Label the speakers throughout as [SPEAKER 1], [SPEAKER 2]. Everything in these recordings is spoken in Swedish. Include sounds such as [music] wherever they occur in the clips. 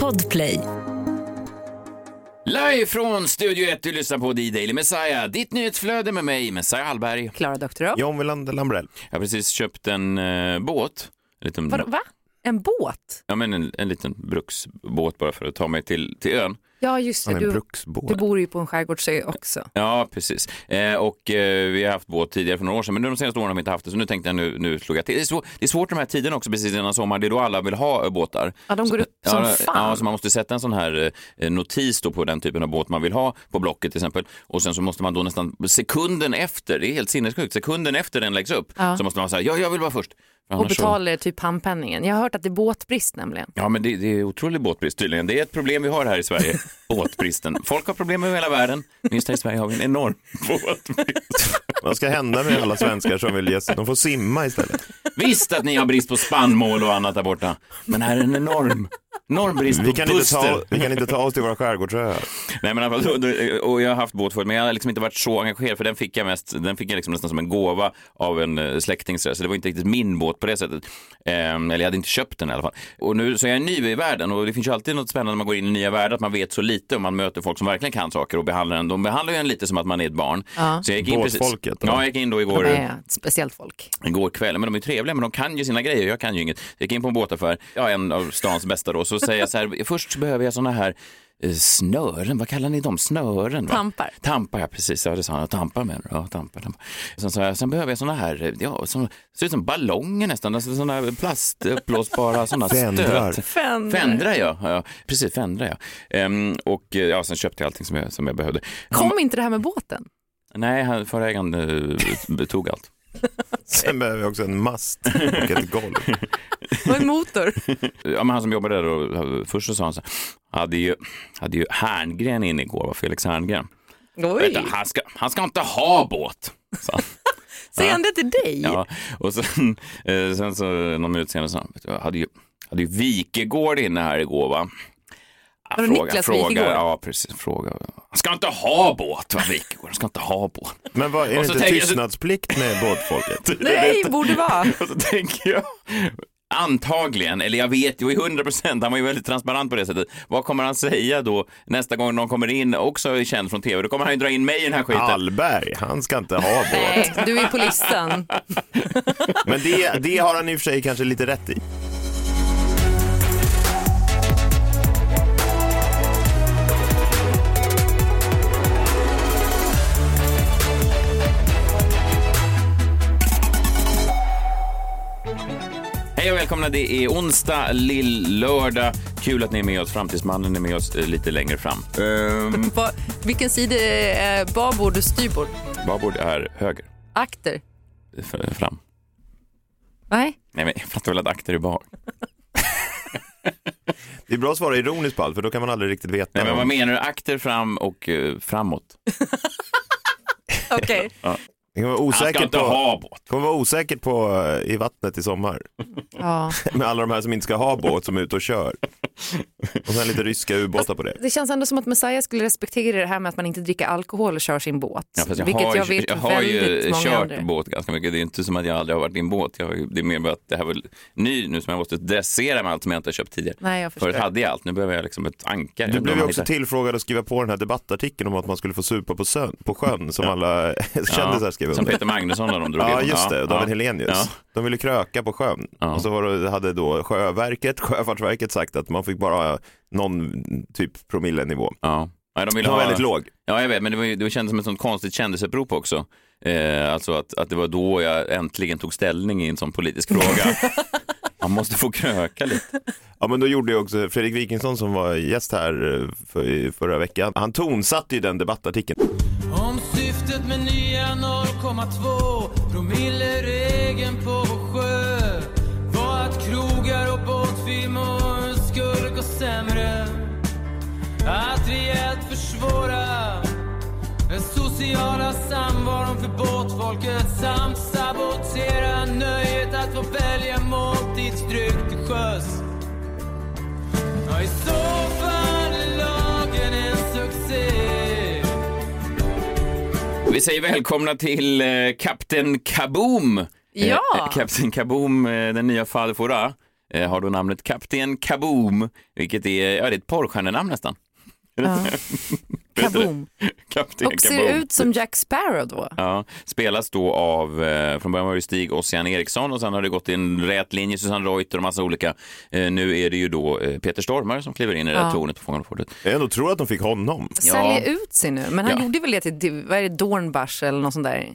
[SPEAKER 1] Podplay.
[SPEAKER 2] Live från Studio 1, du lyssnar på D-Daily Messiah. Ditt nyhetsflöde med mig, Messiah Hallberg.
[SPEAKER 3] Klara Doktorow.
[SPEAKER 4] John Wilander Lambrell.
[SPEAKER 2] Jag har precis köpt en eh, båt. En liten,
[SPEAKER 3] Vadå, Va? En båt?
[SPEAKER 2] ja, men en, en liten bruksbåt bara för att ta mig till, till ön.
[SPEAKER 3] Ja, just det.
[SPEAKER 4] Han är
[SPEAKER 3] Du,
[SPEAKER 4] en bruksbåt.
[SPEAKER 3] du bor ju på en skärgårdsö också.
[SPEAKER 2] Ja, precis. Eh, och eh, vi har haft båt tidigare för några år sedan, men nu de senaste åren har vi inte haft det, så nu tänkte jag nu, nu slog jag till. Det är, svår, det är svårt de här tiderna också, precis innan sommar, det är då alla vill ha eh, båtar.
[SPEAKER 3] Ja, de går upp
[SPEAKER 2] Ja,
[SPEAKER 3] som
[SPEAKER 2] ja,
[SPEAKER 3] fan.
[SPEAKER 2] Ja, så man måste sätta en sån här eh, notis då på den typen av båt man vill ha på Blocket till exempel. Och sen så måste man då nästan sekunden efter, det är helt sinnessjukt, sekunden efter den läggs upp
[SPEAKER 3] Ja.
[SPEAKER 2] så måste man säga ja, jag vill vara först. För
[SPEAKER 3] och
[SPEAKER 2] annars så-
[SPEAKER 3] betalar typ handpenningen. Jag har hört att det är båtbrist nämligen.
[SPEAKER 2] Ja, men det, det är otrolig båtbrist tydligen. Det är ett problem vi har här i
[SPEAKER 3] [laughs]
[SPEAKER 2] Sverige, båtbristen. Folk har problem över hela världen, men just här i Sverige har vi en enorm båtbrist.
[SPEAKER 4] Vad ska hända med alla svenskar som vill ge sig? De får simma istället.
[SPEAKER 2] Visst att ni har brist på spannmål och annat där borta, men här är en enorm, enorm brist
[SPEAKER 4] Vi
[SPEAKER 2] på
[SPEAKER 4] kan, inte
[SPEAKER 2] puster.
[SPEAKER 4] ta, vi kan inte ta oss till våra skärgårdsöar.
[SPEAKER 2] Nej, men i alla fall, då- då- och jag har haft båt förut, men jag har liksom inte varit så engagerad för den fick jag mest, den fick jag liksom nästan som en gåva av en eh, släkting så, där, så det var inte riktigt min båt på det sättet. Ehm, eller jag hade inte köpt den i alla fall. Och nu så är jag ny i världen och det finns ju alltid något spännande när man går in i nya världar, att man vet så lite och man möter folk som verkligen kan saker och behandlar en. De behandlar ju en lite som att man är ett barn.
[SPEAKER 3] Ja.
[SPEAKER 2] Så jag gick in
[SPEAKER 4] Båtfolket,
[SPEAKER 2] Precis,
[SPEAKER 4] eller?
[SPEAKER 2] ja, jag gick in då igår.
[SPEAKER 3] De är ett speciellt folk.
[SPEAKER 2] igår kväll. Men de är trevliga, men de kan ju sina grejer. Jag kan ju inget. Jag gick in på en båtaffär, ja, en av stans bästa då, så säger jag så här, [laughs] först så behöver jag såna här eh, snören, vad kallar ni dem? Snören? Va?
[SPEAKER 3] Tampar.
[SPEAKER 2] Tampar, ja precis. Ja, det sa han. Tampar med Ja, tampar, tampar. Sen sa jag, sen behöver jag såna här, eh, ja, som, ser ut som ballonger nästan, alltså såna här plastuppblåsbara såna
[SPEAKER 4] Fändrar.
[SPEAKER 2] stöt.
[SPEAKER 3] Fender.
[SPEAKER 2] Fändra ja, ja precis fändra ja. Ehm, och eh, ja, sen köpte jag allting som jag, som jag behövde.
[SPEAKER 3] Kom inte det här med båten?
[SPEAKER 2] Nej, han- förra ägaren eh, tog allt.
[SPEAKER 4] Sen behöver vi också en mast och ett golv.
[SPEAKER 3] Och en motor?
[SPEAKER 2] ja, men han som jobbade där då, först så sa han så här, hade ju, hade ju Herngren in igår, var Felix Herngren. Vet du,
[SPEAKER 3] [laughs] Oj,
[SPEAKER 2] han, ska, han ska inte ha båt. sa
[SPEAKER 3] [laughs]
[SPEAKER 2] han.
[SPEAKER 3] säger han det till dig?
[SPEAKER 2] Ja, och sen, eh, sen så någon minut senare så vet du, jag hade ju, hade ju Wikegård inne här igår va. Ja,
[SPEAKER 3] Var det Niklas
[SPEAKER 2] fråga,
[SPEAKER 3] Wikegård?
[SPEAKER 2] ja precis, fråga. Han ska inte ha båt va Wikegård, han ska inte ha båt.
[SPEAKER 4] Men vad, är
[SPEAKER 2] Och så Typ
[SPEAKER 4] det inte
[SPEAKER 2] tänker jag-
[SPEAKER 4] tystnadsplikt
[SPEAKER 2] [laughs]
[SPEAKER 4] med båtfolket?
[SPEAKER 3] Nej, borde vara.
[SPEAKER 2] Och så tänker jag, antagligen, eller jag vet ju i 100 procent, han var ju väldigt transparent på det sättet. Vad kommer han säga då nästa gång någon kommer in, också är känd från tv, då kommer han ju dra in mig i den här skiten.
[SPEAKER 4] Hallberg, han ska inte ha båt.
[SPEAKER 3] Nej, du är på listan.
[SPEAKER 4] Men det, det har han i och för sig kanske lite rätt i.
[SPEAKER 2] Hej och välkomna, det är onsdag, lill-lördag. Kul att ni är med oss, framtidsmannen är med oss eh, lite längre fram. Ehm,
[SPEAKER 3] Va, vilken sida är babord och styrbord?
[SPEAKER 2] Babord är höger,
[SPEAKER 3] Akter?
[SPEAKER 2] F- fram.
[SPEAKER 3] [laughs] Nej,
[SPEAKER 2] Nej men [laughs] jag fattar väl att akter är bak.
[SPEAKER 4] Det är bra att svara ironiskt på allt, för då kan man aldrig riktigt veta.
[SPEAKER 2] Nej men vad menar du, akter fram och eh, framåt?
[SPEAKER 3] okej.
[SPEAKER 4] det kommer vara
[SPEAKER 2] Han ska
[SPEAKER 4] osäkert
[SPEAKER 2] inte
[SPEAKER 4] på,
[SPEAKER 2] ha båt.
[SPEAKER 4] det kommer vara osäkert på, eh, i vattnet i sommar. [laughs]
[SPEAKER 3] Ja.
[SPEAKER 4] Med alla de här som inte ska ha båt, som är ute och kör. Och sen lite ryska ubåtar på det.
[SPEAKER 3] Det känns ändå som att Messiah skulle respektera det här med att man inte dricker alkohol och kör sin båt.
[SPEAKER 2] Ja, fast jag
[SPEAKER 3] vilket
[SPEAKER 2] har,
[SPEAKER 3] jag vet
[SPEAKER 2] jag har
[SPEAKER 3] väldigt
[SPEAKER 2] ju
[SPEAKER 3] många
[SPEAKER 2] kört
[SPEAKER 3] andra.
[SPEAKER 2] båt ganska mycket. Det är inte som att jag aldrig har varit i en båt. Jag har ju, det är mer bara att det här var ny nu som jag måste dressera med allt som jag inte har köpt tidigare.
[SPEAKER 3] Nej, jag förstår.
[SPEAKER 2] Förut hade jag allt, nu behöver jag liksom ett ankare.
[SPEAKER 4] Du
[SPEAKER 2] Jag
[SPEAKER 4] blev ju
[SPEAKER 2] undrar om
[SPEAKER 4] också
[SPEAKER 2] man hittar-
[SPEAKER 4] tillfrågad att skriva på den här debattartikeln om att man skulle få supa på, sön, på sjön som alla [laughs] kändisar skrev
[SPEAKER 2] Som
[SPEAKER 4] under.
[SPEAKER 2] Peter Magnusson och de drog
[SPEAKER 4] [laughs] Ja
[SPEAKER 2] in.
[SPEAKER 4] just det, David Helenius.
[SPEAKER 2] Ja.
[SPEAKER 4] De ville kröka på sjön
[SPEAKER 2] Ja.
[SPEAKER 4] och så var det, hade då Sjöverket, [laughs] Sjöfartsverket sagt att man fick bara ha någon typ promillenivå.
[SPEAKER 2] Ja. Nej, de ville
[SPEAKER 4] Den var
[SPEAKER 2] ha...
[SPEAKER 4] väldigt låg.
[SPEAKER 2] Ja, jag vet, men det, var ju, det kändes som ett sånt konstigt kändisupprop också. Eh, alltså att, att det var då jag äntligen tog ställning i en sån politisk fråga.
[SPEAKER 4] [laughs]
[SPEAKER 2] Man måste få kröka lite.
[SPEAKER 4] Ja men då gjorde ju också Fredrik Wikingsson som var gäst här eh, för, i förra veckan, han tonsatte ju den debattartikeln.
[SPEAKER 5] Om syftet med nya 0,2 promilleregeln på vår sjö var att krogar och båtfirmor skulle gå sämre att rejält försvåra den sociala samvaron för båtfolket samt sabotera nöjet att få välja måltidsdryck till sjöss Ja, i så fall är lagen en succé
[SPEAKER 2] Vi säger välkomna till eh, Kapten Kaboom. Eh,
[SPEAKER 3] Ja.
[SPEAKER 2] eh, Kapten Kaboom, eh, den nya Fall Fora. eh, har då namnet Kapten Kaboom, vilket är, ja, det är ett porrstjärnenamn nästan. [laughs] Vet du det? [laughs]
[SPEAKER 3] Ja. Kaboom.
[SPEAKER 2] Kapten
[SPEAKER 3] Och ser ut som Jack Sparrow då.
[SPEAKER 2] Ja, spelas då av, eh, från början var det Stig Ossian Eriksson och sen har det gått i en rät linje, Susanne Reuter och massa olika. Eh, nu är det ju då eh, Peter Stormare som kliver in i det här
[SPEAKER 3] Ja.
[SPEAKER 2] tornet på Fångarna på fortet.
[SPEAKER 4] Jag ändå tror att de fick honom.
[SPEAKER 3] Säljer ut sig nu, men han
[SPEAKER 2] Ja.
[SPEAKER 3] gjorde väl det till- till vad är det, Dornbach eller något
[SPEAKER 2] [laughs]
[SPEAKER 3] sånt där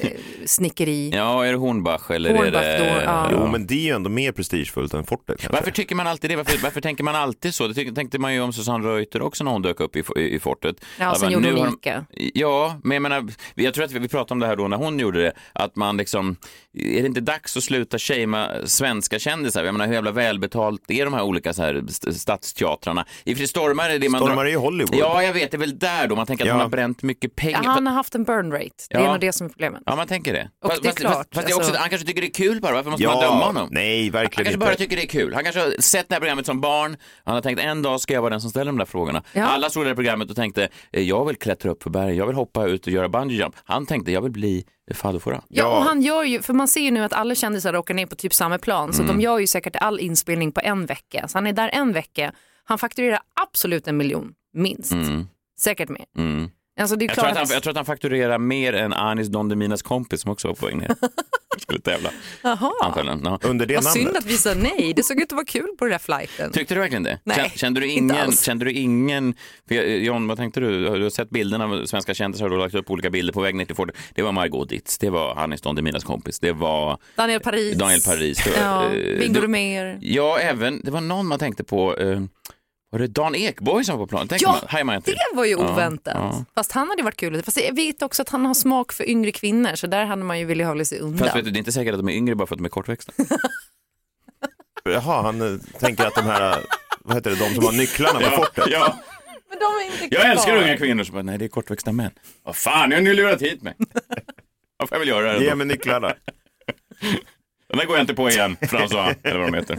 [SPEAKER 3] eh, snickeri.
[SPEAKER 2] Ja, är det Hornbach eller
[SPEAKER 3] Hornbach
[SPEAKER 2] är
[SPEAKER 3] då,
[SPEAKER 2] det...
[SPEAKER 3] ja.
[SPEAKER 4] Jo, men det är ju ändå mer prestigefullt än fortet. kanske.
[SPEAKER 2] Varför tycker man alltid det? Varför, varför tänker man alltid så? Det tyck- tänkte man ju om Susanne Reuter också när hon dök upp i, i, i fortet.
[SPEAKER 3] Ja,
[SPEAKER 2] Att
[SPEAKER 3] sen
[SPEAKER 2] man-
[SPEAKER 3] gjorde hon
[SPEAKER 2] har
[SPEAKER 3] Ica.
[SPEAKER 2] De, ja, men jag menar, jag tror att vi, vi pratade om det här då när hon gjorde det, att man liksom, är det inte dags att sluta shamea svenska kändisar? Jag menar hur jävla välbetalt är de här olika så här, st- stadsteatrarna? I och för sig Stormare är det man
[SPEAKER 4] Stormare
[SPEAKER 2] drar-
[SPEAKER 4] är ju Hollywood.
[SPEAKER 2] Ja, jag vet, det är väl där då man tänker att
[SPEAKER 4] Ja.
[SPEAKER 2] man har bränt mycket pengar.
[SPEAKER 3] Ja, han har haft en burn rate, det är
[SPEAKER 2] Ja.
[SPEAKER 3] nog det som är problemet.
[SPEAKER 2] Ja, man tänker det.
[SPEAKER 3] Och det är
[SPEAKER 2] fast,
[SPEAKER 3] klart,
[SPEAKER 2] fast, fast det är också,
[SPEAKER 3] alltså-
[SPEAKER 2] han kanske tycker det är kul bara, varför måste
[SPEAKER 4] ja,
[SPEAKER 2] man döma honom?
[SPEAKER 4] Nej,
[SPEAKER 2] Han
[SPEAKER 4] verkligen
[SPEAKER 2] kanske
[SPEAKER 4] inte.
[SPEAKER 2] bara tycker det är kul. Han kanske har sett det här programmet som barn. Han har tänkt en dag ska jag vara den som ställer de där frågorna.
[SPEAKER 3] Ja.
[SPEAKER 2] Alla såg det här programmet och tänkte "Eh, jag vill klättra upp för berg, jag vill hoppa ut och göra bungee jump. Han tänkte jag vill bli fadderfåra.
[SPEAKER 3] Ja,
[SPEAKER 4] Ja.
[SPEAKER 3] och han gör ju, för man ser ju nu att alla kändisar åker ner på typ samma plan, så
[SPEAKER 2] Mm.
[SPEAKER 3] de gör ju säkert all inspelning på en vecka. Så han är där en vecka, han fakturerar absolut en miljon, minst. Säkert mer.
[SPEAKER 2] Mm.
[SPEAKER 3] Alltså det är
[SPEAKER 2] Jag, tror
[SPEAKER 3] klart
[SPEAKER 2] att han, jag tror att han fakturerar mer än Anis Don Deminas kompis som också var på väg
[SPEAKER 3] [laughs]
[SPEAKER 2] ner. Skulle tävla,
[SPEAKER 3] Jaha,
[SPEAKER 2] antagligen. Ja.
[SPEAKER 4] Under det
[SPEAKER 3] vad synd
[SPEAKER 4] namnet.
[SPEAKER 3] att vi sa nej. Det såg ut att vara kul på den där flighten.
[SPEAKER 2] Tyckte du verkligen det?
[SPEAKER 3] Nej,
[SPEAKER 2] Kän- kände, du
[SPEAKER 3] inte
[SPEAKER 2] ingen,
[SPEAKER 3] alls.
[SPEAKER 2] kände du ingen, för jag- John vad tänkte du? Har Du har sett bilderna av svenska kändisar, du har lagt upp olika bilder på väg ner till Ford. Det var Margot Dietz, det var Anis Don Deminas kompis, det var
[SPEAKER 3] Daniel Paris.
[SPEAKER 2] Daniel Paris.
[SPEAKER 3] Ja,
[SPEAKER 2] Eh,
[SPEAKER 3] Bingo
[SPEAKER 2] du-
[SPEAKER 3] Rimér.
[SPEAKER 2] Ja, även, det var någon man tänkte på, eh, var det Dan Ekborg som var på planen? Tänkte
[SPEAKER 3] Ja,
[SPEAKER 2] man, hajar man inte till.
[SPEAKER 3] Det var ju
[SPEAKER 2] Ja,
[SPEAKER 3] oväntat.
[SPEAKER 2] ja.
[SPEAKER 3] Fast han hade varit kul. Fast jag vet också att han har smak för yngre kvinnor, så där hade man ju velat hålla sig undan.
[SPEAKER 2] Fast vet du, det är inte säkert att de är yngre bara för att de är kortväxta.
[SPEAKER 3] [laughs]
[SPEAKER 4] Jaha, han eh, tänker att de här, eh, vad heter det, de som har nycklarna på fortet.
[SPEAKER 2] ja,
[SPEAKER 3] Men de är inte
[SPEAKER 2] jag älskar
[SPEAKER 3] kvar.
[SPEAKER 2] unga kvinnor som bara, nej det är kortväxta män. Vad fan, ni har ni lurat hit mig? [laughs] Varför jag vill göra det?
[SPEAKER 4] Ge
[SPEAKER 2] ändå?
[SPEAKER 4] mig nycklarna.
[SPEAKER 2] Den där går jag inte på igen, François, eller vad de heter.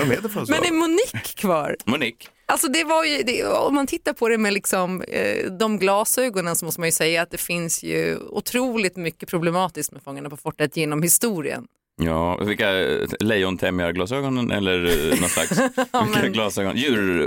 [SPEAKER 4] De heter fan så.
[SPEAKER 3] Men är Monique kvar?
[SPEAKER 2] Monique.
[SPEAKER 3] Alltså det var ju, det, om man tittar på det med liksom, eh, de glasögonen så måste man ju säga att det finns ju otroligt mycket problematiskt med Fångarna på fortet genom historien.
[SPEAKER 2] Ja, vilka eh, lejontämjarglasögonen eller eh, någon slags,
[SPEAKER 3] [laughs]
[SPEAKER 2] vilka
[SPEAKER 3] men-
[SPEAKER 2] glasögon,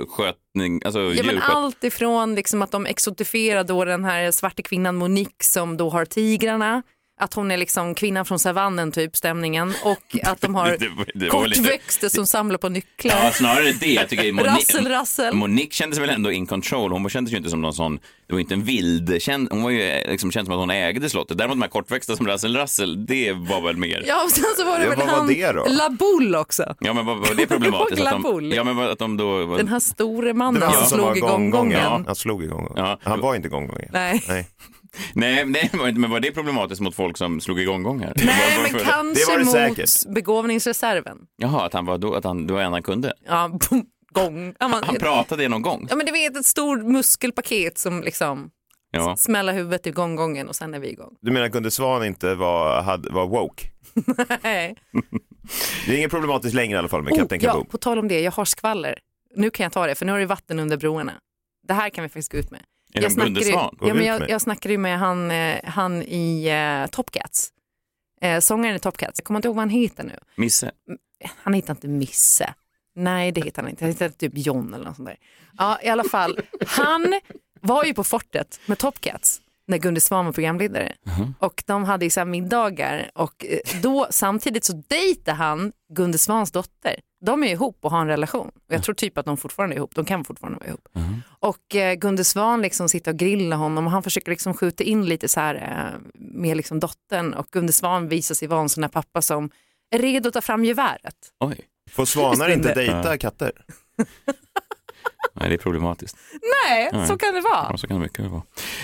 [SPEAKER 2] djurskötning, alltså
[SPEAKER 3] Ja, men
[SPEAKER 2] djursköt-
[SPEAKER 3] allt ifrån liksom att de exotifierar då den här svarta kvinnan Monique som då har tigrarna, att hon är liksom kvinnan från savannen typ stämningen och att de har
[SPEAKER 2] [laughs] Det- det- det var lite-
[SPEAKER 3] kortväxter som samlar på nycklar.
[SPEAKER 2] Ja, alltså, snarare det. Jag tycker
[SPEAKER 3] [laughs]
[SPEAKER 2] Monique,
[SPEAKER 3] Rassel, rassel.
[SPEAKER 2] Monique kändes väl ändå in control. Hon kändes ju inte som någon sån, det var inte en vild, känd, hon var ju eh, liksom känd som att hon ägde slottet. Däremot de här kortväxta som Rassel Rassel, det var väl mer. Ja.
[SPEAKER 3] Ja, och sen så var det
[SPEAKER 4] Ja,
[SPEAKER 3] väl
[SPEAKER 4] vad var
[SPEAKER 3] han
[SPEAKER 4] det då?
[SPEAKER 3] Laboul också.
[SPEAKER 2] men var, var det problematiskt?
[SPEAKER 3] Det var
[SPEAKER 2] att de,
[SPEAKER 3] glaboul.
[SPEAKER 2] ja men var, att de då, var,
[SPEAKER 3] Den här store
[SPEAKER 4] Det
[SPEAKER 3] mannen
[SPEAKER 4] var
[SPEAKER 3] som
[SPEAKER 4] han som var
[SPEAKER 3] slog i
[SPEAKER 4] gonggongen.
[SPEAKER 3] gonggongen.
[SPEAKER 4] Ja, han slog i gonggongen.
[SPEAKER 2] Ja.
[SPEAKER 4] Han var inte gonggongen.
[SPEAKER 3] Nej.
[SPEAKER 4] Nej.
[SPEAKER 2] nej, nej var inte- men var det problematiskt mot folk som slog igång gång här?
[SPEAKER 3] Nej,
[SPEAKER 2] Var-
[SPEAKER 3] men
[SPEAKER 2] var-
[SPEAKER 3] kanske
[SPEAKER 4] det
[SPEAKER 3] mot
[SPEAKER 4] säkert.
[SPEAKER 3] begåvningsreserven.
[SPEAKER 2] Jaha, att han var då, att han, det var en han kunde.
[SPEAKER 3] Ja, boom, gång. Ja, man,
[SPEAKER 2] Han pratade någon gång.
[SPEAKER 3] ja, men du vet ett stort muskelpaket som liksom
[SPEAKER 2] Ja.
[SPEAKER 3] smäller huvudet i gånggången och sen är vi igång. [laughs]
[SPEAKER 4] Du menar kunde Svan inte vara hade- var woke?
[SPEAKER 3] Nej.
[SPEAKER 4] Det är inget problematiskt längre i alla fall med
[SPEAKER 3] Oh,
[SPEAKER 4] Kapten
[SPEAKER 3] ja,
[SPEAKER 4] Kaboom.
[SPEAKER 3] på tal om det, jag har skvaller. Nu kan jag ta det, för nu har det vatten under broarna. Det här kan vi faktiskt gå ut med.
[SPEAKER 2] Är
[SPEAKER 3] jag
[SPEAKER 2] det Gunde
[SPEAKER 3] snackade, ju-
[SPEAKER 2] Svan?
[SPEAKER 4] Går
[SPEAKER 3] ja, men
[SPEAKER 4] ut med?
[SPEAKER 3] jag, jag snackade ju med han, eh, han i eh, Top Cats. Eh, sångaren i Top Cats. Jag kommer inte ihåg vad han heter nu.
[SPEAKER 2] Misse?
[SPEAKER 3] han hittar inte Misse. Nej, det hittar han inte. Han hittar typ John eller något sånt där. Ja, i alla fall. Han var ju på fortet med Top Cats när Gunde Svan var programledare. Och de hade ju så här middagar och eh, då samtidigt så dejtade han Gunde Svans dotter. De är ihop och har en relation. Och jag tror typ att de fortfarande är ihop. De kan fortfarande vara ihop. Och eh, Gunde Svan liksom sitter och grillar honom och han försöker liksom skjuta in lite så här eh, med liksom dottern och Gunde Svan visar sig vara en sån här pappa som är redo att ta fram geväret.
[SPEAKER 2] Oj,
[SPEAKER 4] Får svanar inte dejta
[SPEAKER 2] Ja.
[SPEAKER 4] katter?
[SPEAKER 2] nej det är problematiskt.
[SPEAKER 3] Nej, så kan det vara.
[SPEAKER 2] Ja, så kan det mycket väl vara.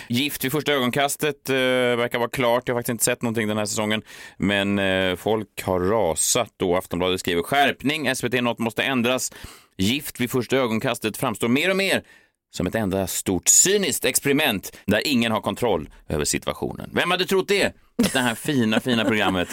[SPEAKER 2] Gift vid första ögonkastet eh, verkar vara klart. Jag har faktiskt inte sett någonting den här säsongen. Men eh, folk har rasat då. Aftonbladet skriver skärpning, SVT något måste ändras. Gift vid första ögonkastet framstår mer och mer som ett enda stort cyniskt experiment där ingen har kontroll över situationen. Vem hade trott det? Att det här fina, fina programmet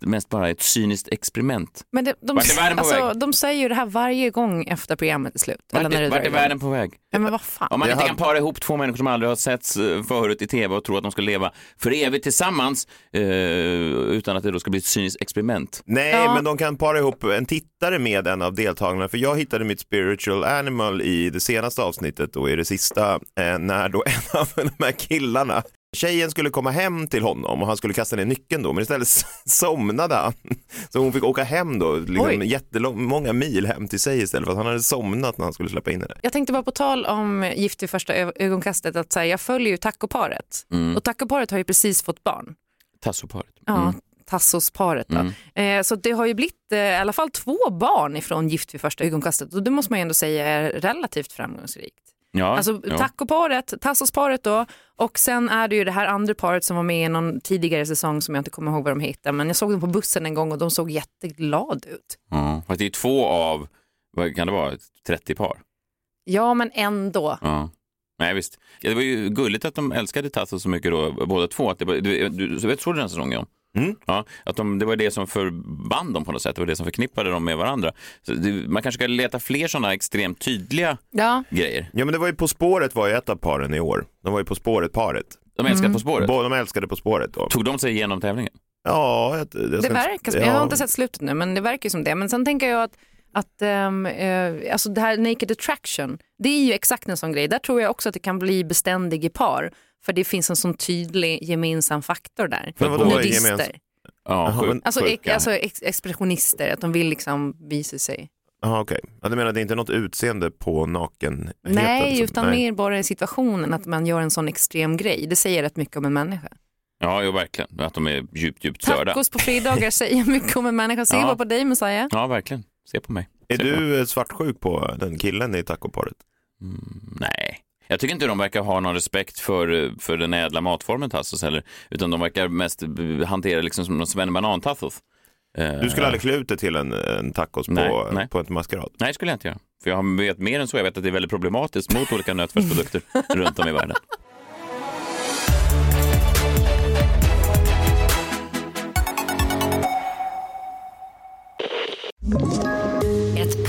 [SPEAKER 2] mest bara ett cyniskt experiment.
[SPEAKER 3] Men det, de,
[SPEAKER 2] Vart är världen på
[SPEAKER 3] alltså,
[SPEAKER 2] väg?
[SPEAKER 3] de säger ju det här varje gång efter programmet är slut.
[SPEAKER 2] Vart,
[SPEAKER 3] när det
[SPEAKER 2] är-
[SPEAKER 3] drar
[SPEAKER 2] vart är
[SPEAKER 3] igång.
[SPEAKER 2] världen på väg?
[SPEAKER 3] Ja, men vad fan.
[SPEAKER 2] Om man
[SPEAKER 4] Jag
[SPEAKER 2] inte kan
[SPEAKER 4] hade-
[SPEAKER 2] para ihop två människor som aldrig har setts eh, förut i tv och tror att de ska leva för evigt tillsammans eh, utan att det då ska bli ett cyniskt experiment.
[SPEAKER 4] Nej,
[SPEAKER 3] Ja.
[SPEAKER 4] men de kan para ihop en tittare med en av deltagarna. För jag hittade mitt spiritual animal i det senaste avsnittet och i det sista eh, när då [laughs] en av de här killarna Tjejen skulle komma hem till honom och han skulle kasta ner nyckeln då, men istället somnade han. [laughs] Så hon fick åka hem då, liksom
[SPEAKER 3] Oj.
[SPEAKER 4] jättemånga mil hem till sig istället för att han hade somnat när han skulle släppa in henne.
[SPEAKER 3] Jag tänkte bara på tal om Gift i första ö- ögonkastet att så här, jag följer ju tacoparet
[SPEAKER 2] Mm.
[SPEAKER 3] och tacoparet har ju precis fått barn.
[SPEAKER 2] Tassoparet.
[SPEAKER 3] Ja, Tassos-paret då.
[SPEAKER 2] Mm.
[SPEAKER 3] Eh, så det har ju blivit eh, i alla fall två barn ifrån Gift vid första ögonkastet och det måste man ju ändå säga är relativt framgångsrikt.
[SPEAKER 2] Ja,
[SPEAKER 3] Alltså
[SPEAKER 2] ja.
[SPEAKER 3] tacoparet, Tassos-paret då och sen är det ju det här andra paret som var med i någon tidigare säsong som jag inte kommer ihåg vad de heter men jag såg dem på bussen en gång och de såg jätteglada ut.
[SPEAKER 2] Ja. Fast det är två av, vad kan det vara, 30 par?
[SPEAKER 3] Ja men ändå.
[SPEAKER 2] Ja. Nej visst. Ja, det var ju gulligt att de älskade Tasso så mycket då, båda två. Att det var, du, du, så vet, såg du den säsongen?
[SPEAKER 4] Mm.
[SPEAKER 2] Ja, att de, det var det som förband dem på något sätt, det var det som förknippade dem med varandra. Så det, man kanske ska leta fler sådana extremt tydliga
[SPEAKER 3] Ja.
[SPEAKER 2] grejer.
[SPEAKER 4] Ja men det var ju På spåret var ju ett av paren i år. De var ju På spåret-paret.
[SPEAKER 2] De älskar På spåret.
[SPEAKER 4] Båda de älskade På spåret då.
[SPEAKER 2] Tog de sig igenom tävlingen?
[SPEAKER 4] Ja, jag, jag
[SPEAKER 3] Det
[SPEAKER 4] ska-
[SPEAKER 3] verkar som,
[SPEAKER 4] ja.
[SPEAKER 3] jag har inte sett slutet nu men det verkar ju som det. Men sen tänker jag att, att ehm, eh, alltså det här Naked Attraction, det är ju exakt en sån grej. Där tror jag också att det kan bli beständig i par. För det finns en sån tydlig gemensam faktor där.
[SPEAKER 4] Men vadå är gemensam?
[SPEAKER 3] Nudister,
[SPEAKER 2] Ja,
[SPEAKER 4] Jaha,
[SPEAKER 2] sjuk-
[SPEAKER 4] men-
[SPEAKER 3] alltså, ex,
[SPEAKER 4] Sjuka.
[SPEAKER 3] alltså ex, expressionister, att de vill liksom visa sig.
[SPEAKER 4] Jaha okej, ja, du menar det är inte något utseende på nakenheten?
[SPEAKER 3] Nej,
[SPEAKER 4] liksom?
[SPEAKER 3] utan mer bara i situationen att man gör en sån extrem grej. Det säger rätt mycket om en människa.
[SPEAKER 2] ja jo, verkligen. Att de är djupt, djupt störda.
[SPEAKER 3] Tacos på fredagar säger mycket om en människa. Se
[SPEAKER 2] Ja.
[SPEAKER 3] bara på dig Messiah.
[SPEAKER 2] Ja, verkligen. Se på mig.
[SPEAKER 4] Är
[SPEAKER 2] Se på mig.
[SPEAKER 4] du eh, svartsjuk på den killen i tacoparet?
[SPEAKER 2] Nej. Jag tycker inte de verkar ha någon respekt för, för den ädla matformen Tassos heller. Utan de verkar mest b- hantera liksom som någon svennebanan Tassos. Eh,
[SPEAKER 4] Du skulle aldrig klä ut dig till en, eh, en tacos på,
[SPEAKER 2] Nej, nej.
[SPEAKER 4] på en maskerad?
[SPEAKER 2] Nej, det skulle jag inte göra. För jag vet mer än så. Jag vet att det är väldigt problematiskt mot olika
[SPEAKER 3] [laughs]
[SPEAKER 2] nötfärsprodukter runt om i världen.
[SPEAKER 1] Ett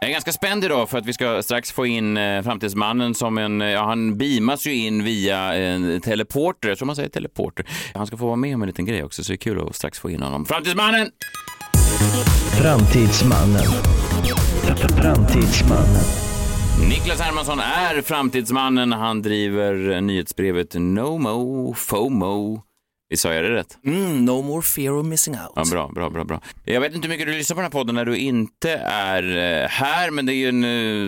[SPEAKER 2] Jag är ganska spänd idag för att vi ska strax få in eh, framtidsmannen som en, eh, ja han beamas ju in via en teleporter, jag tror man säger teleporter. Han ska få vara med om en liten grej också så det är kul att strax få in honom. Framtidsmannen!
[SPEAKER 6] Framtidsmannen. Framtidsmannen.
[SPEAKER 2] Niklas Hermansson är framtidsmannen. Han driver eh, nyhetsbrevet No Mo FOMO. Vi sa jag det rätt?
[SPEAKER 6] Mm, no more fear of missing out.
[SPEAKER 2] Ja, bra, bra, bra, bra. Jag vet inte hur mycket du lyssnar på den här podden när du inte är eh, här, men det är ju en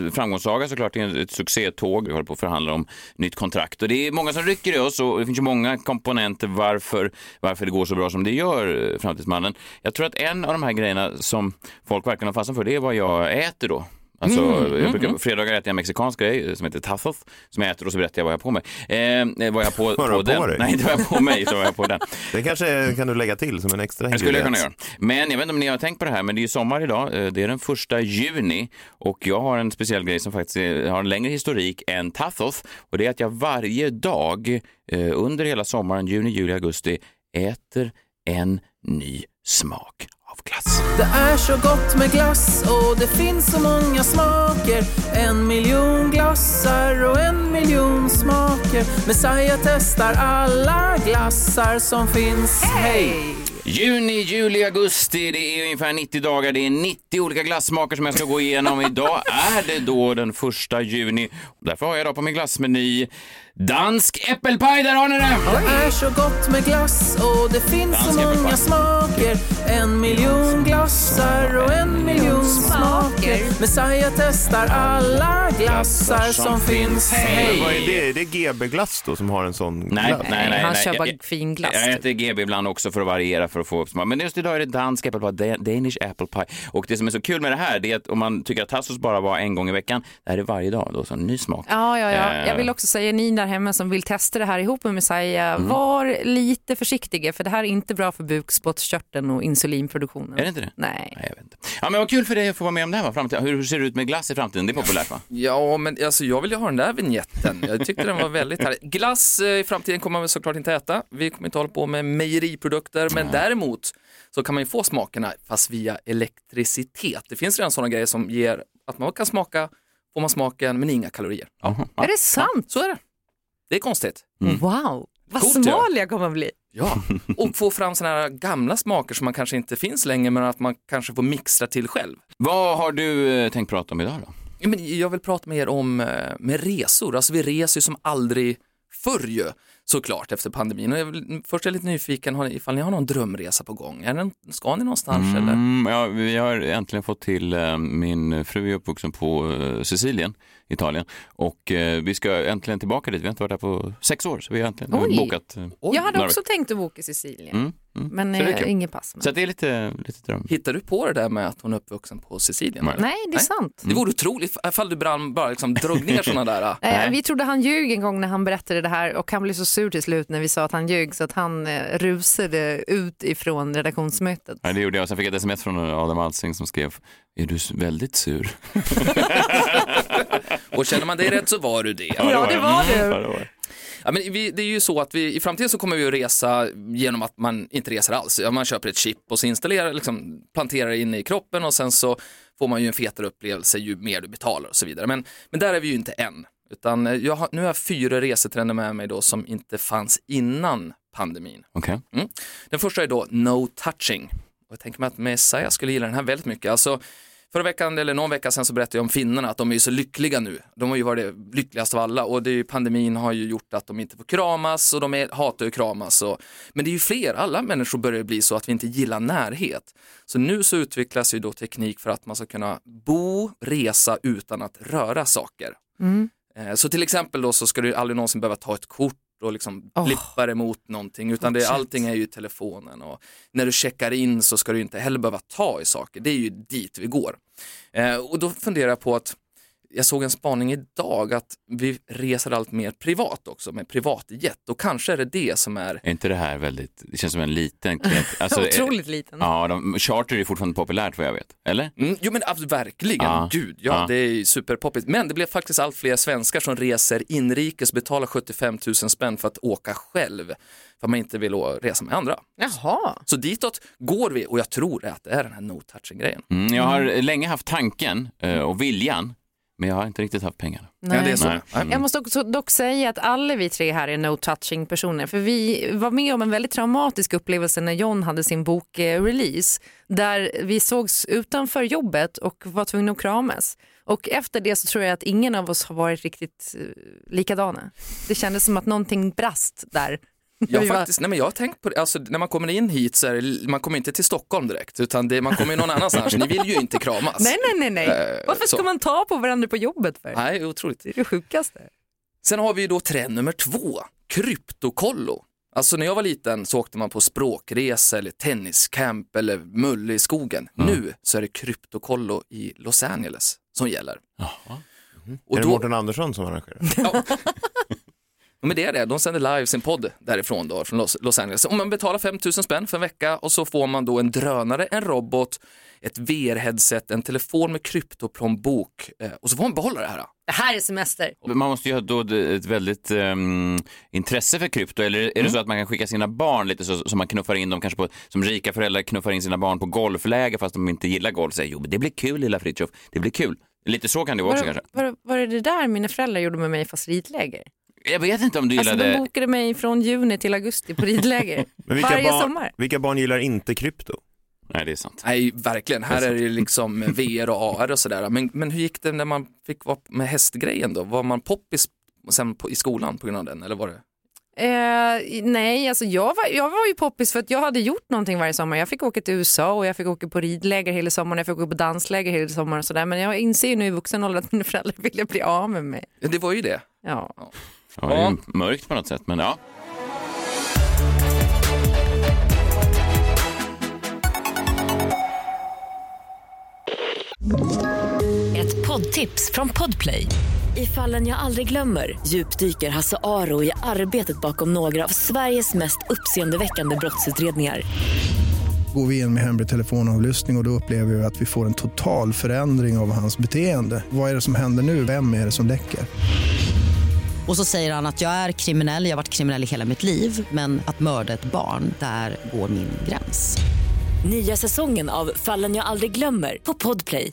[SPEAKER 2] eh, framgångssaga såklart. Det är ett succétåg. Vi håller på att förhandla om nytt kontrakt och det är många som rycker i oss och det finns ju många komponenter varför, varför det går så bra som det gör, eh, Framtidsmannen. Jag tror att en av de här grejerna som folk verkligen har fastnat för, det är vad jag äter då. Alltså,
[SPEAKER 4] Mm,
[SPEAKER 2] jag brukar, på fredagar äter jag en mexikansk grej eh, som heter tacos som jag äter och så berättar jag vad jag har på mig. Eh, vad jag har på,
[SPEAKER 4] [laughs] Vad du har på
[SPEAKER 2] den.
[SPEAKER 4] dig?
[SPEAKER 2] Nej, inte vad jag har på mig, utan vad jag har på den.
[SPEAKER 4] Det kanske kan du lägga till som en extra
[SPEAKER 2] Det skulle jag kunna
[SPEAKER 4] ingrediens.
[SPEAKER 2] göra. Men jag vet inte om ni har tänkt på det här, men det är ju sommar idag. Eh, Det är den första juni och jag har en speciell grej som faktiskt är, har en längre historik än Tathoth och det är att jag varje dag eh, under hela sommaren, juni, juli, augusti, äter en ny smak av glass.
[SPEAKER 5] Det är så gott med glass och det finns så många smaker En miljon glassar och en miljon smaker Messiah testar alla glassar som finns Hej!
[SPEAKER 2] Juni, juli, augusti, det är ungefär 90 dagar. Det är 90 olika glassmaker som jag ska gå igenom. Idag är det då den första juni. Därför har jag då på min glassmeny dansk äppelpaj, där har ni det!
[SPEAKER 5] Det är så gott med glass och det finns
[SPEAKER 2] Dansk
[SPEAKER 5] så
[SPEAKER 2] äppelpaj.
[SPEAKER 5] många smaker smaker En miljon glassar och en miljon smaker Messiah testar alla glassar som finns Hej!
[SPEAKER 4] Vad är det? Det är GB-glass då som har en sån
[SPEAKER 2] Nej,
[SPEAKER 4] glass?
[SPEAKER 2] nej, nej, nej.
[SPEAKER 3] han kör
[SPEAKER 2] Jag-
[SPEAKER 3] bara
[SPEAKER 2] jag-
[SPEAKER 3] fin glass,
[SPEAKER 2] Jag
[SPEAKER 3] typ.
[SPEAKER 2] äter GB ibland också för att variera för att få upp smak. Men just idag är det dansk apple pie, da- Danish apple pie. Och det som är så kul med det här det är att om man tycker att tassos bara var en gång i veckan, det här är varje dag då, så en ny smak.
[SPEAKER 3] Ja, ja, ja.
[SPEAKER 2] Eh. Mm.
[SPEAKER 3] Jag vill också säga ni där hemma som vill testa det här ihop med Messiah, var lite försiktiga för det här är inte bra för bukspottkörteln och insulinproduktionen.
[SPEAKER 2] Är det inte det?
[SPEAKER 3] Nej.
[SPEAKER 2] Nej, jag vet inte. Ja, men vad kul för dig att få vara med om det här va? Framtiden. Hur hur ser det ut med glass i framtiden? Det är populärt va?
[SPEAKER 5] Ja, men alltså, jag vill ju ha den där vignetten. Jag tyckte den var väldigt härlig. Glass eh, i framtiden kommer man väl såklart inte äta. Vi kommer inte hålla på med mejeriprodukter, men däremot så kan man ju få smakerna fast via elektricitet. Det finns redan sådana grejer som ger att man kan smaka, får man smaken, men inga kalorier.
[SPEAKER 2] Jaha.
[SPEAKER 3] Är det sant?
[SPEAKER 5] Så är det. Det är konstigt.
[SPEAKER 3] Mm. Wow, vad
[SPEAKER 5] Coolt,
[SPEAKER 3] smal jag kommer att bli.
[SPEAKER 5] Ja, och få fram sådana här gamla smaker som man kanske inte finns längre, men att man kanske får mixtra till själv.
[SPEAKER 2] Vad har du eh, tänkt prata om idag då?
[SPEAKER 5] Ja, men jag vill prata med er om eh, med resor. Alltså vi reser ju som aldrig förr ju, såklart efter pandemin. Och jag vill, först är jag lite nyfiken har ni- ifall ni har någon drömresa på gång. Är den, ska ni någonstans eller?
[SPEAKER 2] Mm, ja, vi har äntligen fått till, eh, min fru är uppvuxen på eh, Sicilien, Italien och eh, vi ska äntligen tillbaka dit. Vi har inte varit där på sex år så vi har äntligen
[SPEAKER 3] Oj.
[SPEAKER 2] bokat. eh,
[SPEAKER 3] jag hade
[SPEAKER 2] några
[SPEAKER 3] också
[SPEAKER 2] veckor.
[SPEAKER 3] tänkt att åka i Sicilien,
[SPEAKER 2] Mm, mm.
[SPEAKER 3] men
[SPEAKER 2] Så det är
[SPEAKER 3] eh,
[SPEAKER 2] kul.
[SPEAKER 3] inget pass. Med.
[SPEAKER 2] Så att det är lite, lite dröm.
[SPEAKER 5] Hittar du på det där med att hon är uppvuxen på Sicilien?
[SPEAKER 2] Nej.
[SPEAKER 3] Nej, det är
[SPEAKER 5] Nej.
[SPEAKER 3] sant.
[SPEAKER 5] Det vore otroligt ifall du brann, bara liksom drog ner sådana där. eh,
[SPEAKER 3] Eh, vi trodde han ljög en gång när han berättade det här och han blev så sur till slut när vi sa att han ljög så att han eh, rusade ut ifrån redaktionsmötet.
[SPEAKER 2] Nej, det gjorde jag. Sen fick jag ett sms från eh, Adam Alsing som skrev, är du s- väldigt sur?
[SPEAKER 5] Och känner man dig rätt så var du det.
[SPEAKER 3] Ja, det Mm. var du.
[SPEAKER 2] Ja, det var jag.
[SPEAKER 5] Ja, men vi, det är ju så att vi, i framtiden så kommer vi att resa genom att man inte reser alls. Ja, man köper ett chip och så installerar, liksom, planterar det in i kroppen och sen så får man ju en fetare upplevelse ju mer du betalar och så vidare. Men, men där är vi ju inte än. Utan eh, jag har, nu har jag fyra resetrender med mig då som inte fanns innan pandemin.
[SPEAKER 2] Okej.
[SPEAKER 5] Mm. Den första är då no touching. Och jag tänker mig att Messiah skulle gilla den här väldigt mycket. Alltså, förra veckan, eller någon vecka sedan, så berättade jag om finnarna, att de är ju så lyckliga nu. De har ju varit det lyckligaste av alla och det är ju, pandemin har ju gjort att de inte får kramas och de är, hatar ju att kramas. Och, men det är ju fler, alla människor börjar bli så att vi inte gillar närhet. Så nu så utvecklas ju då teknik för att man ska kunna bo, resa utan att röra saker. Eh, Så till exempel då så ska du aldrig någonsin behöva ta ett kort och liksom
[SPEAKER 3] Åh.
[SPEAKER 5] blippa emot någonting utan det, allting är ju i telefonen och när du checkar in så ska du inte heller behöva ta i saker. Det är ju dit vi går. Eh, och då funderar jag på att jag såg en spaning idag att vi reser allt mer privat också med privatjet och kanske är det det som är
[SPEAKER 2] Är inte det här väldigt, det känns som en liten knep. Alltså, eh,
[SPEAKER 3] Otroligt liten.
[SPEAKER 2] Ja, de, charter är fortfarande populärt vad jag vet. Eller?
[SPEAKER 5] Mm, jo men ab- verkligen,
[SPEAKER 2] Ja.
[SPEAKER 5] gud ja,
[SPEAKER 2] Ja.
[SPEAKER 5] det är ju superpoppigt. Men det blev faktiskt allt fler svenskar som reser inrikes, betalar 75 000 spänn för att åka själv, för man inte vill å- resa med andra.
[SPEAKER 3] Jaha.
[SPEAKER 5] Så ditåt går vi och jag tror att det är den här no-touching-grejen.
[SPEAKER 2] Mm, jag har länge haft tanken eh, och viljan, men jag har inte riktigt haft pengarna.
[SPEAKER 3] Nej.
[SPEAKER 5] det är så.
[SPEAKER 2] Nej.
[SPEAKER 5] Nej.
[SPEAKER 3] Jag måste också dock säga att alla vi tre här är no-touching personer för vi var med om en väldigt traumatisk upplevelse när John hade sin bok eh, release där vi sågs utanför jobbet och var tvungna att kramas. Och efter det så tror jag att ingen av oss har varit riktigt eh, likadana. Det kändes som att någonting brast där.
[SPEAKER 5] Jag,
[SPEAKER 3] Vi
[SPEAKER 5] har
[SPEAKER 3] var-
[SPEAKER 5] faktiskt, nej men jag har tänkt på det, alltså, när man kommer in hit så är det, man kommer inte till Stockholm direkt, utan det, man kommer ju någon annanstans, ni vill ju inte kramas.
[SPEAKER 3] [laughs] Nej, nej, nej, nej.
[SPEAKER 5] Eh,
[SPEAKER 3] Varför ska
[SPEAKER 5] så.
[SPEAKER 3] man ta på varandra på jobbet för?
[SPEAKER 5] nej otroligt.
[SPEAKER 3] Det är det sjukaste.
[SPEAKER 5] Sen har vi ju då trend nummer två, kryptokollo. Alltså när jag var liten så åkte man på språkresa eller tenniscamp eller mulle i skogen.
[SPEAKER 4] Mm.
[SPEAKER 5] Nu så är det kryptokollo i Los Angeles som gäller.
[SPEAKER 4] är
[SPEAKER 5] Och
[SPEAKER 4] det
[SPEAKER 5] då,
[SPEAKER 4] Mårten Andersson som arrangerar?
[SPEAKER 5] ja. Ja, Men det är det, de sänder live sin podd därifrån då, från Los, Los Angeles. Om man betalar 5 000 spänn för en vecka och så får man då en drönare, en robot, ett VR-headset, en telefon med kryptoplånbok eh, och så får man behålla det här.
[SPEAKER 3] Det här är semester.
[SPEAKER 2] Man måste ju ha då ett väldigt ehm, intresse för krypto, eller är det så att man kan skicka sina barn lite så, som man knuffar in dem kanske på, som rika föräldrar knuffar in sina barn på golfläger fast de inte gillar golf, säger jo men det blir kul lilla Fritiof, det blir kul. Lite så kan det vara också
[SPEAKER 3] Var,
[SPEAKER 2] kanske.
[SPEAKER 3] var, var det det där mina föräldrar gjorde med mig fast ridläger?
[SPEAKER 2] Jag vet inte om du
[SPEAKER 3] Alltså
[SPEAKER 2] gillade,
[SPEAKER 3] de bokade mig från juni till augusti på [laughs] ridläger.
[SPEAKER 4] Men vilka,
[SPEAKER 3] Varje
[SPEAKER 4] barn,
[SPEAKER 3] sommar.
[SPEAKER 4] vilka barn gillar inte krypto?
[SPEAKER 2] nej det är sant.
[SPEAKER 5] Nej, verkligen. Här är det ju liksom VR och AR och sådär. Men, men hur gick det när man fick vara med hästgrejen då? Var man poppis sen på, i skolan på grund av den? Eller var det?
[SPEAKER 3] Eh, nej, alltså jag var, jag var ju poppis för att jag hade gjort någonting varje sommar. Jag fick åka till USA och jag fick åka på ridläger hela sommaren, jag fick åka på dansläger hela sommaren och sådär. Men jag inser ju nu i vuxen ålder att mina föräldrar ville bli av med mig.
[SPEAKER 5] Ja, Det var ju det.
[SPEAKER 3] Ja.
[SPEAKER 2] Ja, det är ju mörkt på något sätt, men ja.
[SPEAKER 1] Ett poddtips från Podplay. I fallen jag aldrig glömmer djupdyker Hasse Aro i arbetet bakom några av Sveriges mest uppseendeväckande brottsutredningar.
[SPEAKER 7] Går vi in med hemlig telefonavlyssning och, och då upplever vi att vi får en total förändring av hans beteende. Vad är det som händer nu? Vem är det som läcker?
[SPEAKER 8] Och så säger han att jag är kriminell, jag har varit kriminell i hela mitt liv men att mörda ett barn, där går min gräns.
[SPEAKER 1] Nya säsongen av Fallen jag aldrig glömmer på Podplay.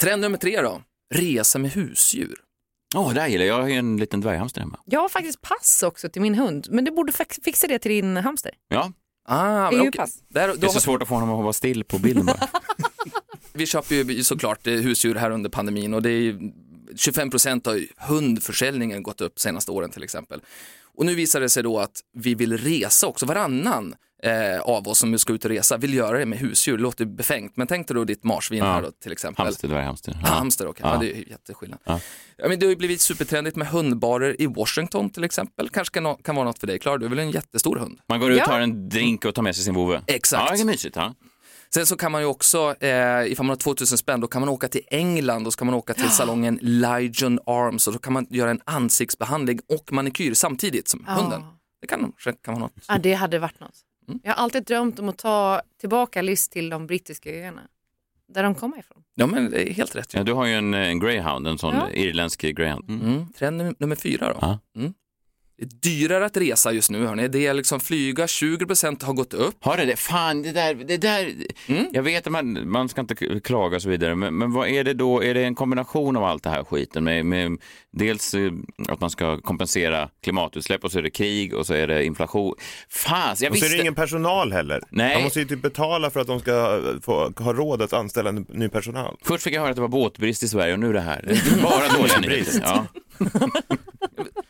[SPEAKER 5] Trend nummer tre då. Resa med husdjur.
[SPEAKER 2] Ja, det där gillar jag. Jag har ju en liten dvärghamster hemma.
[SPEAKER 3] Jag har faktiskt pass också till min hund, men du borde fax- fixa det till din hamster.
[SPEAKER 2] Ja,
[SPEAKER 5] Ah,
[SPEAKER 3] Det är ju
[SPEAKER 5] okej.
[SPEAKER 3] pass.
[SPEAKER 5] Där,
[SPEAKER 2] det
[SPEAKER 5] då,
[SPEAKER 2] är så svårt att få honom att vara still på bilden bara.
[SPEAKER 5] vi köper ju såklart eh, husdjur här under pandemin och det är ju 25 procent av hundförsäljningen gått upp senaste åren till exempel. Och nu visar det sig då att vi vill resa också. Varannan eh, av oss som nu ska ut och resa vill göra det med husdjur. Det låter befängt, men tänk dig då ditt marsvin här då till exempel.
[SPEAKER 2] Hamster, dvärghamster.
[SPEAKER 5] Ja. Hamster, okej. Ja.
[SPEAKER 2] Ja.
[SPEAKER 5] det är ju jätteskillnad. Ja.
[SPEAKER 2] Ja.
[SPEAKER 5] men det har ju blivit supertrendigt med hundbarer i Washington till exempel. Kanske kan, kan vara något för dig, Klara. Du är väl en jättestor hund?
[SPEAKER 2] Man går ut,
[SPEAKER 3] Ja.
[SPEAKER 2] tar en drink och tar med sig sin vovve.
[SPEAKER 5] Exakt.
[SPEAKER 2] Ja, det är mysigt. Ja.
[SPEAKER 5] Sen så kan man ju också, eh, ifall man har 2000 spänn, då kan man åka till England och så kan man åka till salongen Ligion Arms och då kan man göra en ansiktsbehandling och manikyr samtidigt som hunden. Det kan, kan vara något.
[SPEAKER 3] Ja, det hade varit något. Jag har alltid drömt om att ta tillbaka Liz till de brittiska öarna, där de kommer ifrån.
[SPEAKER 5] Ja men det är helt rätt.
[SPEAKER 2] Ja,
[SPEAKER 5] ju.
[SPEAKER 2] du har ju en, en greyhound, en sån
[SPEAKER 3] Ja.
[SPEAKER 2] irländsk greyhound. Mm.
[SPEAKER 5] Mm. Trend num- nummer fyra då.
[SPEAKER 2] Ja.
[SPEAKER 5] Mm. Det är dyrare att resa just nu hörni. Det är liksom flyga, 20% har gått upp.
[SPEAKER 2] Har det det? Fan, det där... Det där.
[SPEAKER 5] Mm.
[SPEAKER 2] Jag vet att man, man ska inte k- klaga och så vidare, men, men vad är det då? Är det en kombination av allt det här skiten? Med, med, dels eh, att man ska kompensera klimatutsläpp och så är det krig och så är det inflation. Fan, jag
[SPEAKER 4] Och så är
[SPEAKER 2] visste...
[SPEAKER 4] det ingen personal heller.
[SPEAKER 2] Nej.
[SPEAKER 4] Man måste ju typ betala för att de ska få, ha råd att anställa en ny personal.
[SPEAKER 2] Först fick jag höra att det var båtbrist i Sverige och nu det här. Det är
[SPEAKER 4] [laughs]
[SPEAKER 2] bara dåliga nyheter. Ja.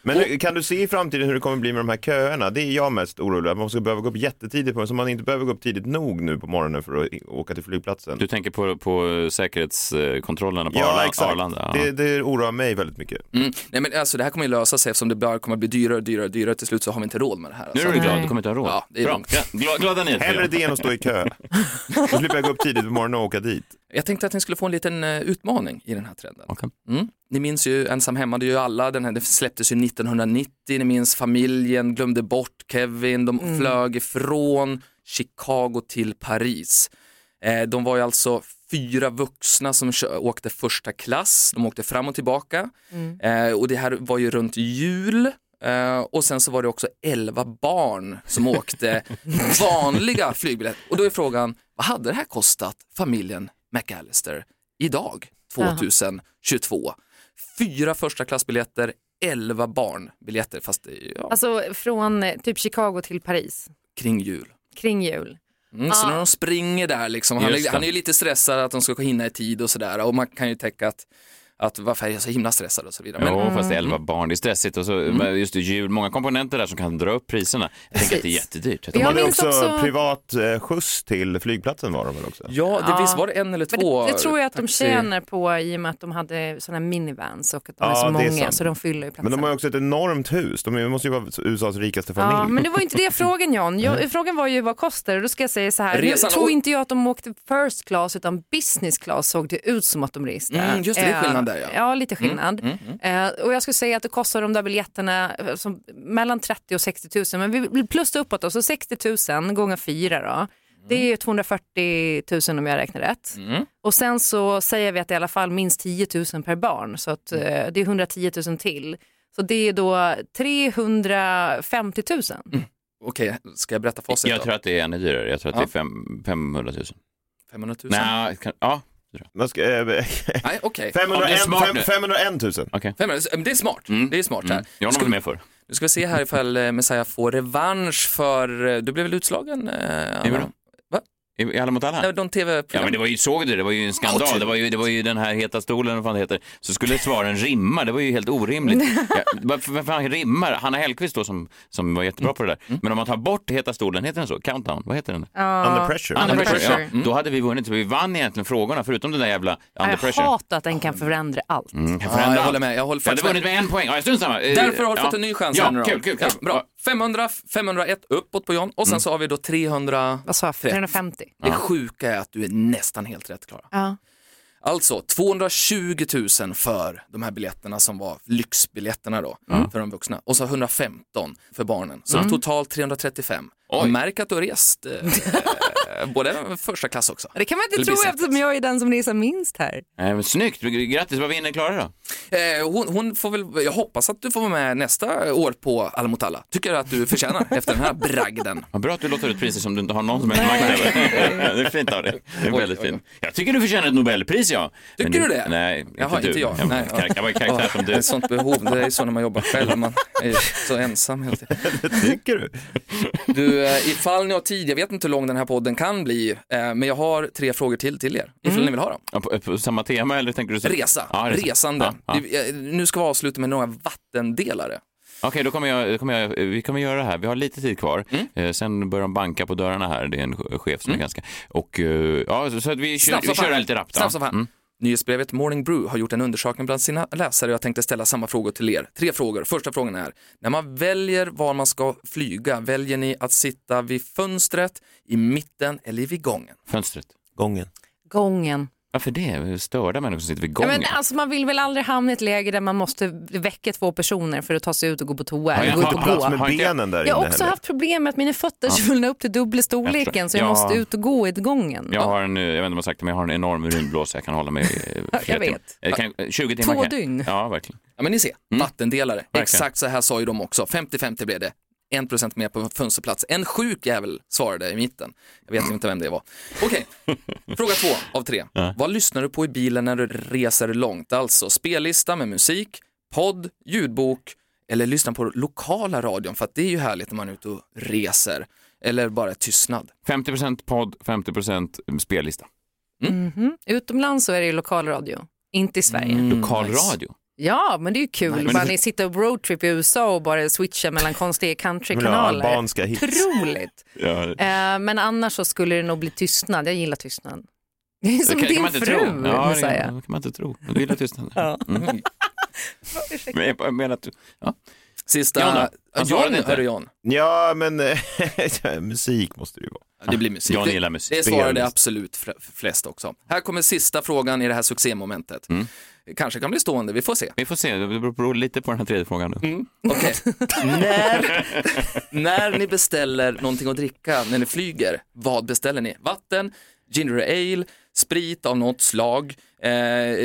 [SPEAKER 4] Men hur- kan du se i framtiden hur det kommer bli med de här köerna? Det är jag mest orolig över. Man ska behöva gå upp jättetidigt på så man inte behöver gå upp tidigt nog nu på morgonen för att i- åka till flygplatsen.
[SPEAKER 2] Du tänker på, på säkerhetskontrollerna på Arla- Arlanda? Ja.
[SPEAKER 4] Det, det oroar mig väldigt mycket.
[SPEAKER 5] Mm. Nej men alltså det här kommer ju lösa sig eftersom det börjar komma bli dyrare och dyrare och dyrare. Till slut så har vi inte råd med det här.
[SPEAKER 2] Nu
[SPEAKER 5] Alltså.
[SPEAKER 2] är du glad,
[SPEAKER 3] Nej.
[SPEAKER 2] du kommer inte ha råd.
[SPEAKER 5] Ja, det är
[SPEAKER 2] Bra.
[SPEAKER 5] lugnt.
[SPEAKER 2] Ja, gla- glada
[SPEAKER 4] Hellre
[SPEAKER 2] nyheter.
[SPEAKER 4] det än att stå i kö. Då slipper jag gå upp tidigt på morgonen och åka dit.
[SPEAKER 5] Jag tänkte att ni skulle få en liten eh, utmaning i den här trenden.
[SPEAKER 2] Okej.
[SPEAKER 5] Mm. Ni minns ju Ensam hemma, det gör ju alla. Den här den släpptes ju 1990. Ni minns familjen, glömde bort Kevin, de flög ifrån Chicago till Paris. Eh, de var ju alltså fyra vuxna som kö- åkte första klass. De åkte fram och tillbaka. Eh, och det här var ju runt jul. Eh, och sen så var det också 11 barn som
[SPEAKER 3] [laughs]
[SPEAKER 5] åkte vanliga flygbiljetter. Och då är frågan, vad hade det här kostat familjen McAllister idag, 2022? Fyra första klassbiljetter, 11 barnbiljetter, fast det är, ja,
[SPEAKER 3] Alltså från eh, typ Chicago till Paris,
[SPEAKER 5] kring jul.
[SPEAKER 3] kring jul.
[SPEAKER 5] Mm, så när de springer där liksom, han,
[SPEAKER 2] Just
[SPEAKER 5] är,
[SPEAKER 2] det.
[SPEAKER 5] han är ju lite stressad att de ska hinna i tid och sådär. Och man kan ju tänka att, att varför är jag så himla stressad och så vidare. Men,
[SPEAKER 2] Jo, fast det är elva barn, det är stressigt och så, men just det, jul, många komponenter där som kan dra upp priserna. Jag tänker att det är
[SPEAKER 3] Precis.
[SPEAKER 2] jättedyrt. Jag
[SPEAKER 4] De
[SPEAKER 2] tror
[SPEAKER 3] Jag
[SPEAKER 4] hade
[SPEAKER 3] minns
[SPEAKER 4] också,
[SPEAKER 3] också-
[SPEAKER 4] privat eh, skjuts till flygplatsen var de väl också?
[SPEAKER 5] Ja, det
[SPEAKER 3] Ja.
[SPEAKER 5] visst var det en eller
[SPEAKER 3] Men
[SPEAKER 5] två.
[SPEAKER 3] det, det tror jag att de
[SPEAKER 5] taxi-
[SPEAKER 3] tjänar på i och med att de hade sådana minivans och att de
[SPEAKER 4] Ja,
[SPEAKER 3] är så
[SPEAKER 4] det är
[SPEAKER 3] många
[SPEAKER 4] sant.
[SPEAKER 3] så de fyller ju platsen.
[SPEAKER 4] Men de har ju också ett enormt hus. De är- måste ju vara USAs rikaste familj.
[SPEAKER 3] Ja, men det var ju inte det frågan John. Jag, frågan var ju vad kostar det? Då ska jag säga så här,
[SPEAKER 5] Resan-
[SPEAKER 3] nu tror inte jag att de åkte first class utan business class såg det ut som att de reste.
[SPEAKER 5] Mm, just det, det är
[SPEAKER 3] Eh,
[SPEAKER 5] skillnad där, ja.
[SPEAKER 3] Ja, lite skillnad.
[SPEAKER 2] Mm,
[SPEAKER 3] Eh, och jag skulle säga att det kostar de där biljetterna eh, som, mellan 30 och 60 000, men vi- vi plussar uppåt då, så 60 000 gånger 4 då. Det är ju 240 000 om jag räknar rätt. Och sen så säger vi att det är i alla fall minst 10 000 per barn, så att, eh, det är 110 000 till. Så det är då 350 000.
[SPEAKER 5] Okej, ska jag berätta
[SPEAKER 2] att-
[SPEAKER 5] facit
[SPEAKER 2] jag
[SPEAKER 5] då?
[SPEAKER 2] tror att det är ännu dyrare, jag tror att
[SPEAKER 5] Ja.
[SPEAKER 2] det är fem, 500 000.
[SPEAKER 5] 500 000?
[SPEAKER 2] Nej, kan, ja,
[SPEAKER 4] Man ska, eh,
[SPEAKER 5] Nej, okej.
[SPEAKER 2] Ja, det är
[SPEAKER 4] 501,
[SPEAKER 2] smart
[SPEAKER 4] fem-
[SPEAKER 2] nu.
[SPEAKER 4] 501 000.
[SPEAKER 2] okej.
[SPEAKER 5] 500 000, men Det är smart.
[SPEAKER 2] Mm.
[SPEAKER 5] Det är smart här.
[SPEAKER 2] Mm. Jag har nog
[SPEAKER 5] Ska-
[SPEAKER 2] varit med för.
[SPEAKER 5] Nu ska vi se här ifall eh, Messiah får revansch för, eh, du blev väl utslagen? eh, Anna?
[SPEAKER 2] Hur då? I, i Alla mot alla?
[SPEAKER 5] Nej, De
[SPEAKER 2] Ja, men
[SPEAKER 5] tv-program.
[SPEAKER 2] det var ju, såg du det? Det var ju en skandal. Det var ju, det var ju den här Heta stolen, vad fan det heter. Så skulle svaren rimma, det var ju helt orimligt. Ja, vad vad fan rimmar? Hanna Hellquist då som, som var jättebra på det där. Men om man tar bort Heta stolen, heter den så? Countdown, vad heter den?
[SPEAKER 4] Under pressure.
[SPEAKER 2] Under pressure.
[SPEAKER 3] pressure.
[SPEAKER 2] Ja, då hade vi vunnit, så vi vann egentligen frågorna förutom den där jävla under
[SPEAKER 3] Jag
[SPEAKER 2] pressure.
[SPEAKER 3] hatar att den kan förändra allt.
[SPEAKER 2] Mm, kan
[SPEAKER 9] Ja,
[SPEAKER 2] förändra
[SPEAKER 9] jag håller
[SPEAKER 2] allt.
[SPEAKER 9] med. Jag håller
[SPEAKER 2] Jag hade
[SPEAKER 9] faktiskt
[SPEAKER 2] vunnit
[SPEAKER 9] med.
[SPEAKER 2] med en poäng. Ja, strunt samma. Eh,
[SPEAKER 5] Därför har du
[SPEAKER 2] ja.
[SPEAKER 5] fått en ny chans
[SPEAKER 2] ja,
[SPEAKER 5] här nu då.
[SPEAKER 2] Kul, kul, Mm. kul.
[SPEAKER 5] Ja, bra. 500, 501 uppåt på John och sen så har vi då 300.
[SPEAKER 10] Vad sa jag? 350?
[SPEAKER 5] Det sjuka är att du är nästan helt rätt Klara.
[SPEAKER 10] Ja.
[SPEAKER 5] Alltså 220 000 för de här biljetterna som var lyxbiljetterna då för de vuxna och så 115 för barnen. Så totalt 335.
[SPEAKER 2] Oj.
[SPEAKER 5] Och märk att du har rest eh, både första klass också.
[SPEAKER 3] Det kan man
[SPEAKER 5] Eller
[SPEAKER 3] inte tro
[SPEAKER 5] blir
[SPEAKER 3] eftersom jag är den som resar minst här.
[SPEAKER 2] Eh, men Snyggt, grattis. Vad vinner Klara då?
[SPEAKER 5] Eh, hon, hon får väl, jag hoppas att du får vara med nästa år på Alla mot alla. Tycker att du förtjänar efter den här bragden.
[SPEAKER 2] Vad bra att du låter ut priser som du inte har någon som helst makt över. [laughs] det är fint av dig. Det är väldigt fint. Jag tycker du förtjänar ett Nobelpris, ja. Men
[SPEAKER 5] Tycker du det?
[SPEAKER 2] Nej, inte
[SPEAKER 5] Jaha,
[SPEAKER 2] du.
[SPEAKER 5] inte jag.
[SPEAKER 2] Jag,
[SPEAKER 5] Nej,
[SPEAKER 2] var kar- jag var karaktär som du.
[SPEAKER 5] Ett sånt behov, det är så när man jobbar själv, man är så ensam
[SPEAKER 2] [laughs]
[SPEAKER 5] hela tiden.
[SPEAKER 4] Tycker du?
[SPEAKER 5] Du, eh, ifall ni har tid, jag vet inte hur lång den här podden kan bli, eh, men jag har tre frågor till till er, ifall ni vill ha dem.
[SPEAKER 2] Ja, På, på samma tema eller tänker du? så-
[SPEAKER 5] Resa,
[SPEAKER 2] Mm. Ja, resa.
[SPEAKER 5] resande.
[SPEAKER 2] Ja, ja.
[SPEAKER 5] Vi- eh, Nu ska vi avsluta med några vattendelare.
[SPEAKER 2] Okej, då kommer jag, då kommer jag, vi kommer göra det här. Vi har lite tid kvar.
[SPEAKER 5] Mm.
[SPEAKER 2] Eh, sen börjar de banka på dörrarna här. Det är en ch- chef som är ganska... Och eh, ja, så, så att vi kör,
[SPEAKER 5] Snabbt
[SPEAKER 2] vi
[SPEAKER 5] som
[SPEAKER 2] kör det här
[SPEAKER 5] fan.
[SPEAKER 2] lite rappt.
[SPEAKER 5] Snabbt som
[SPEAKER 2] ja. Mm.
[SPEAKER 5] fan. Nyhetsbrevet Morning Brew har gjort en undersökning bland sina läsare och jag tänkte ställa samma frågor till er. Tre frågor. Första frågan är, när man väljer var man ska flyga, väljer ni att sitta vid fönstret, i mitten eller vid gången?
[SPEAKER 2] Fönstret.
[SPEAKER 4] Gången.
[SPEAKER 3] Gången.
[SPEAKER 2] Varför det? Störda människor som sitter vid
[SPEAKER 3] Ja,
[SPEAKER 2] gången.
[SPEAKER 3] men, alltså, man vill väl aldrig hamna i ett läge där man måste väcka två personer för att ta sig ut och gå på toa
[SPEAKER 2] Ja,
[SPEAKER 3] eller
[SPEAKER 2] jag
[SPEAKER 3] gå ut
[SPEAKER 2] har-
[SPEAKER 3] och
[SPEAKER 2] plats
[SPEAKER 3] gå.
[SPEAKER 4] Plats med
[SPEAKER 2] Har inte-
[SPEAKER 4] benen där
[SPEAKER 3] Jag har
[SPEAKER 4] inne
[SPEAKER 3] också
[SPEAKER 4] heller.
[SPEAKER 3] haft problem med att mina fötter svullnar upp till dubbla storleken så jag
[SPEAKER 2] Ja.
[SPEAKER 3] måste ut och gå i ett gången.
[SPEAKER 2] Jag har en, eh, jag vet inte om jag har sagt det, men jag har en enorm urinblåsa. Jag kan hålla mig
[SPEAKER 3] [laughs]
[SPEAKER 2] eh, flera timmar.
[SPEAKER 3] vet.
[SPEAKER 2] Eh, Kan, eh, 20 timmar kan
[SPEAKER 3] Två
[SPEAKER 2] jag.
[SPEAKER 3] dygn.
[SPEAKER 2] Ja, verkligen.
[SPEAKER 5] Ja men ni ser, vattendelare.
[SPEAKER 2] Mm. Verkligen.
[SPEAKER 5] Exakt så här sa ju de också. 50-50 blev det. 1% mer på fönsterplats. En sjuk jävel svarade i mitten. Jag vet inte vem det var. Okej,
[SPEAKER 2] [laughs]
[SPEAKER 5] fråga två av tre. Vad lyssnar du på i bilen när du reser långt? Alltså spellista med musik, podd, ljudbok eller lyssna på lokala radion för att det är ju härligt när man är ute och reser. Eller bara tystnad.
[SPEAKER 2] 50 podd, 50 spellista.
[SPEAKER 3] Mhm. Utomlands så är det ju lokalradio, inte i Sverige.
[SPEAKER 2] Lokal
[SPEAKER 5] Mm, nice.
[SPEAKER 2] radio.
[SPEAKER 3] Ja, men det är ju kul.
[SPEAKER 5] Nej,
[SPEAKER 2] Mm. men
[SPEAKER 3] bara
[SPEAKER 2] du-
[SPEAKER 3] ni sitter och roadtrip i USA och bara switcha mellan konstiga
[SPEAKER 4] Vill du ha
[SPEAKER 3] countrykanaler.
[SPEAKER 4] Albanska hits.
[SPEAKER 3] Otroligt.
[SPEAKER 2] Ja.
[SPEAKER 3] Eh, men annars så skulle det nog bli tystnad. Jag gillar tystnad. Det är [laughs] som
[SPEAKER 2] det
[SPEAKER 3] din
[SPEAKER 2] man inte
[SPEAKER 3] fru,
[SPEAKER 2] tro. Ja, det,
[SPEAKER 3] Messiah.
[SPEAKER 2] kan man inte tro. Men du gillar tystnaden. Mm. [laughs] Men jag bara menar att du... Ja.
[SPEAKER 5] Sista...
[SPEAKER 2] Jan då? Han svarade
[SPEAKER 5] Jan,
[SPEAKER 2] inte.
[SPEAKER 5] hörru Jan.
[SPEAKER 4] Ja, men eh, [laughs] musik måste det ju vara.
[SPEAKER 5] Det blir musik.
[SPEAKER 2] Jan
[SPEAKER 5] Det-
[SPEAKER 2] gillar musik.
[SPEAKER 5] Det svarade
[SPEAKER 4] Spelist.
[SPEAKER 5] absolut fl- flest också. Här kommer sista frågan i det här succémomentet.
[SPEAKER 2] Mm.
[SPEAKER 5] Kanske kan bli stående, vi får se.
[SPEAKER 2] Vi får se, det beror- beror lite på den här tredje frågan nu.
[SPEAKER 3] Mm.
[SPEAKER 2] [laughs]
[SPEAKER 5] Okej. när, när ni beställer någonting att dricka när ni flyger, vad beställer ni? Vatten, ginger ale, sprit av något slag, eh,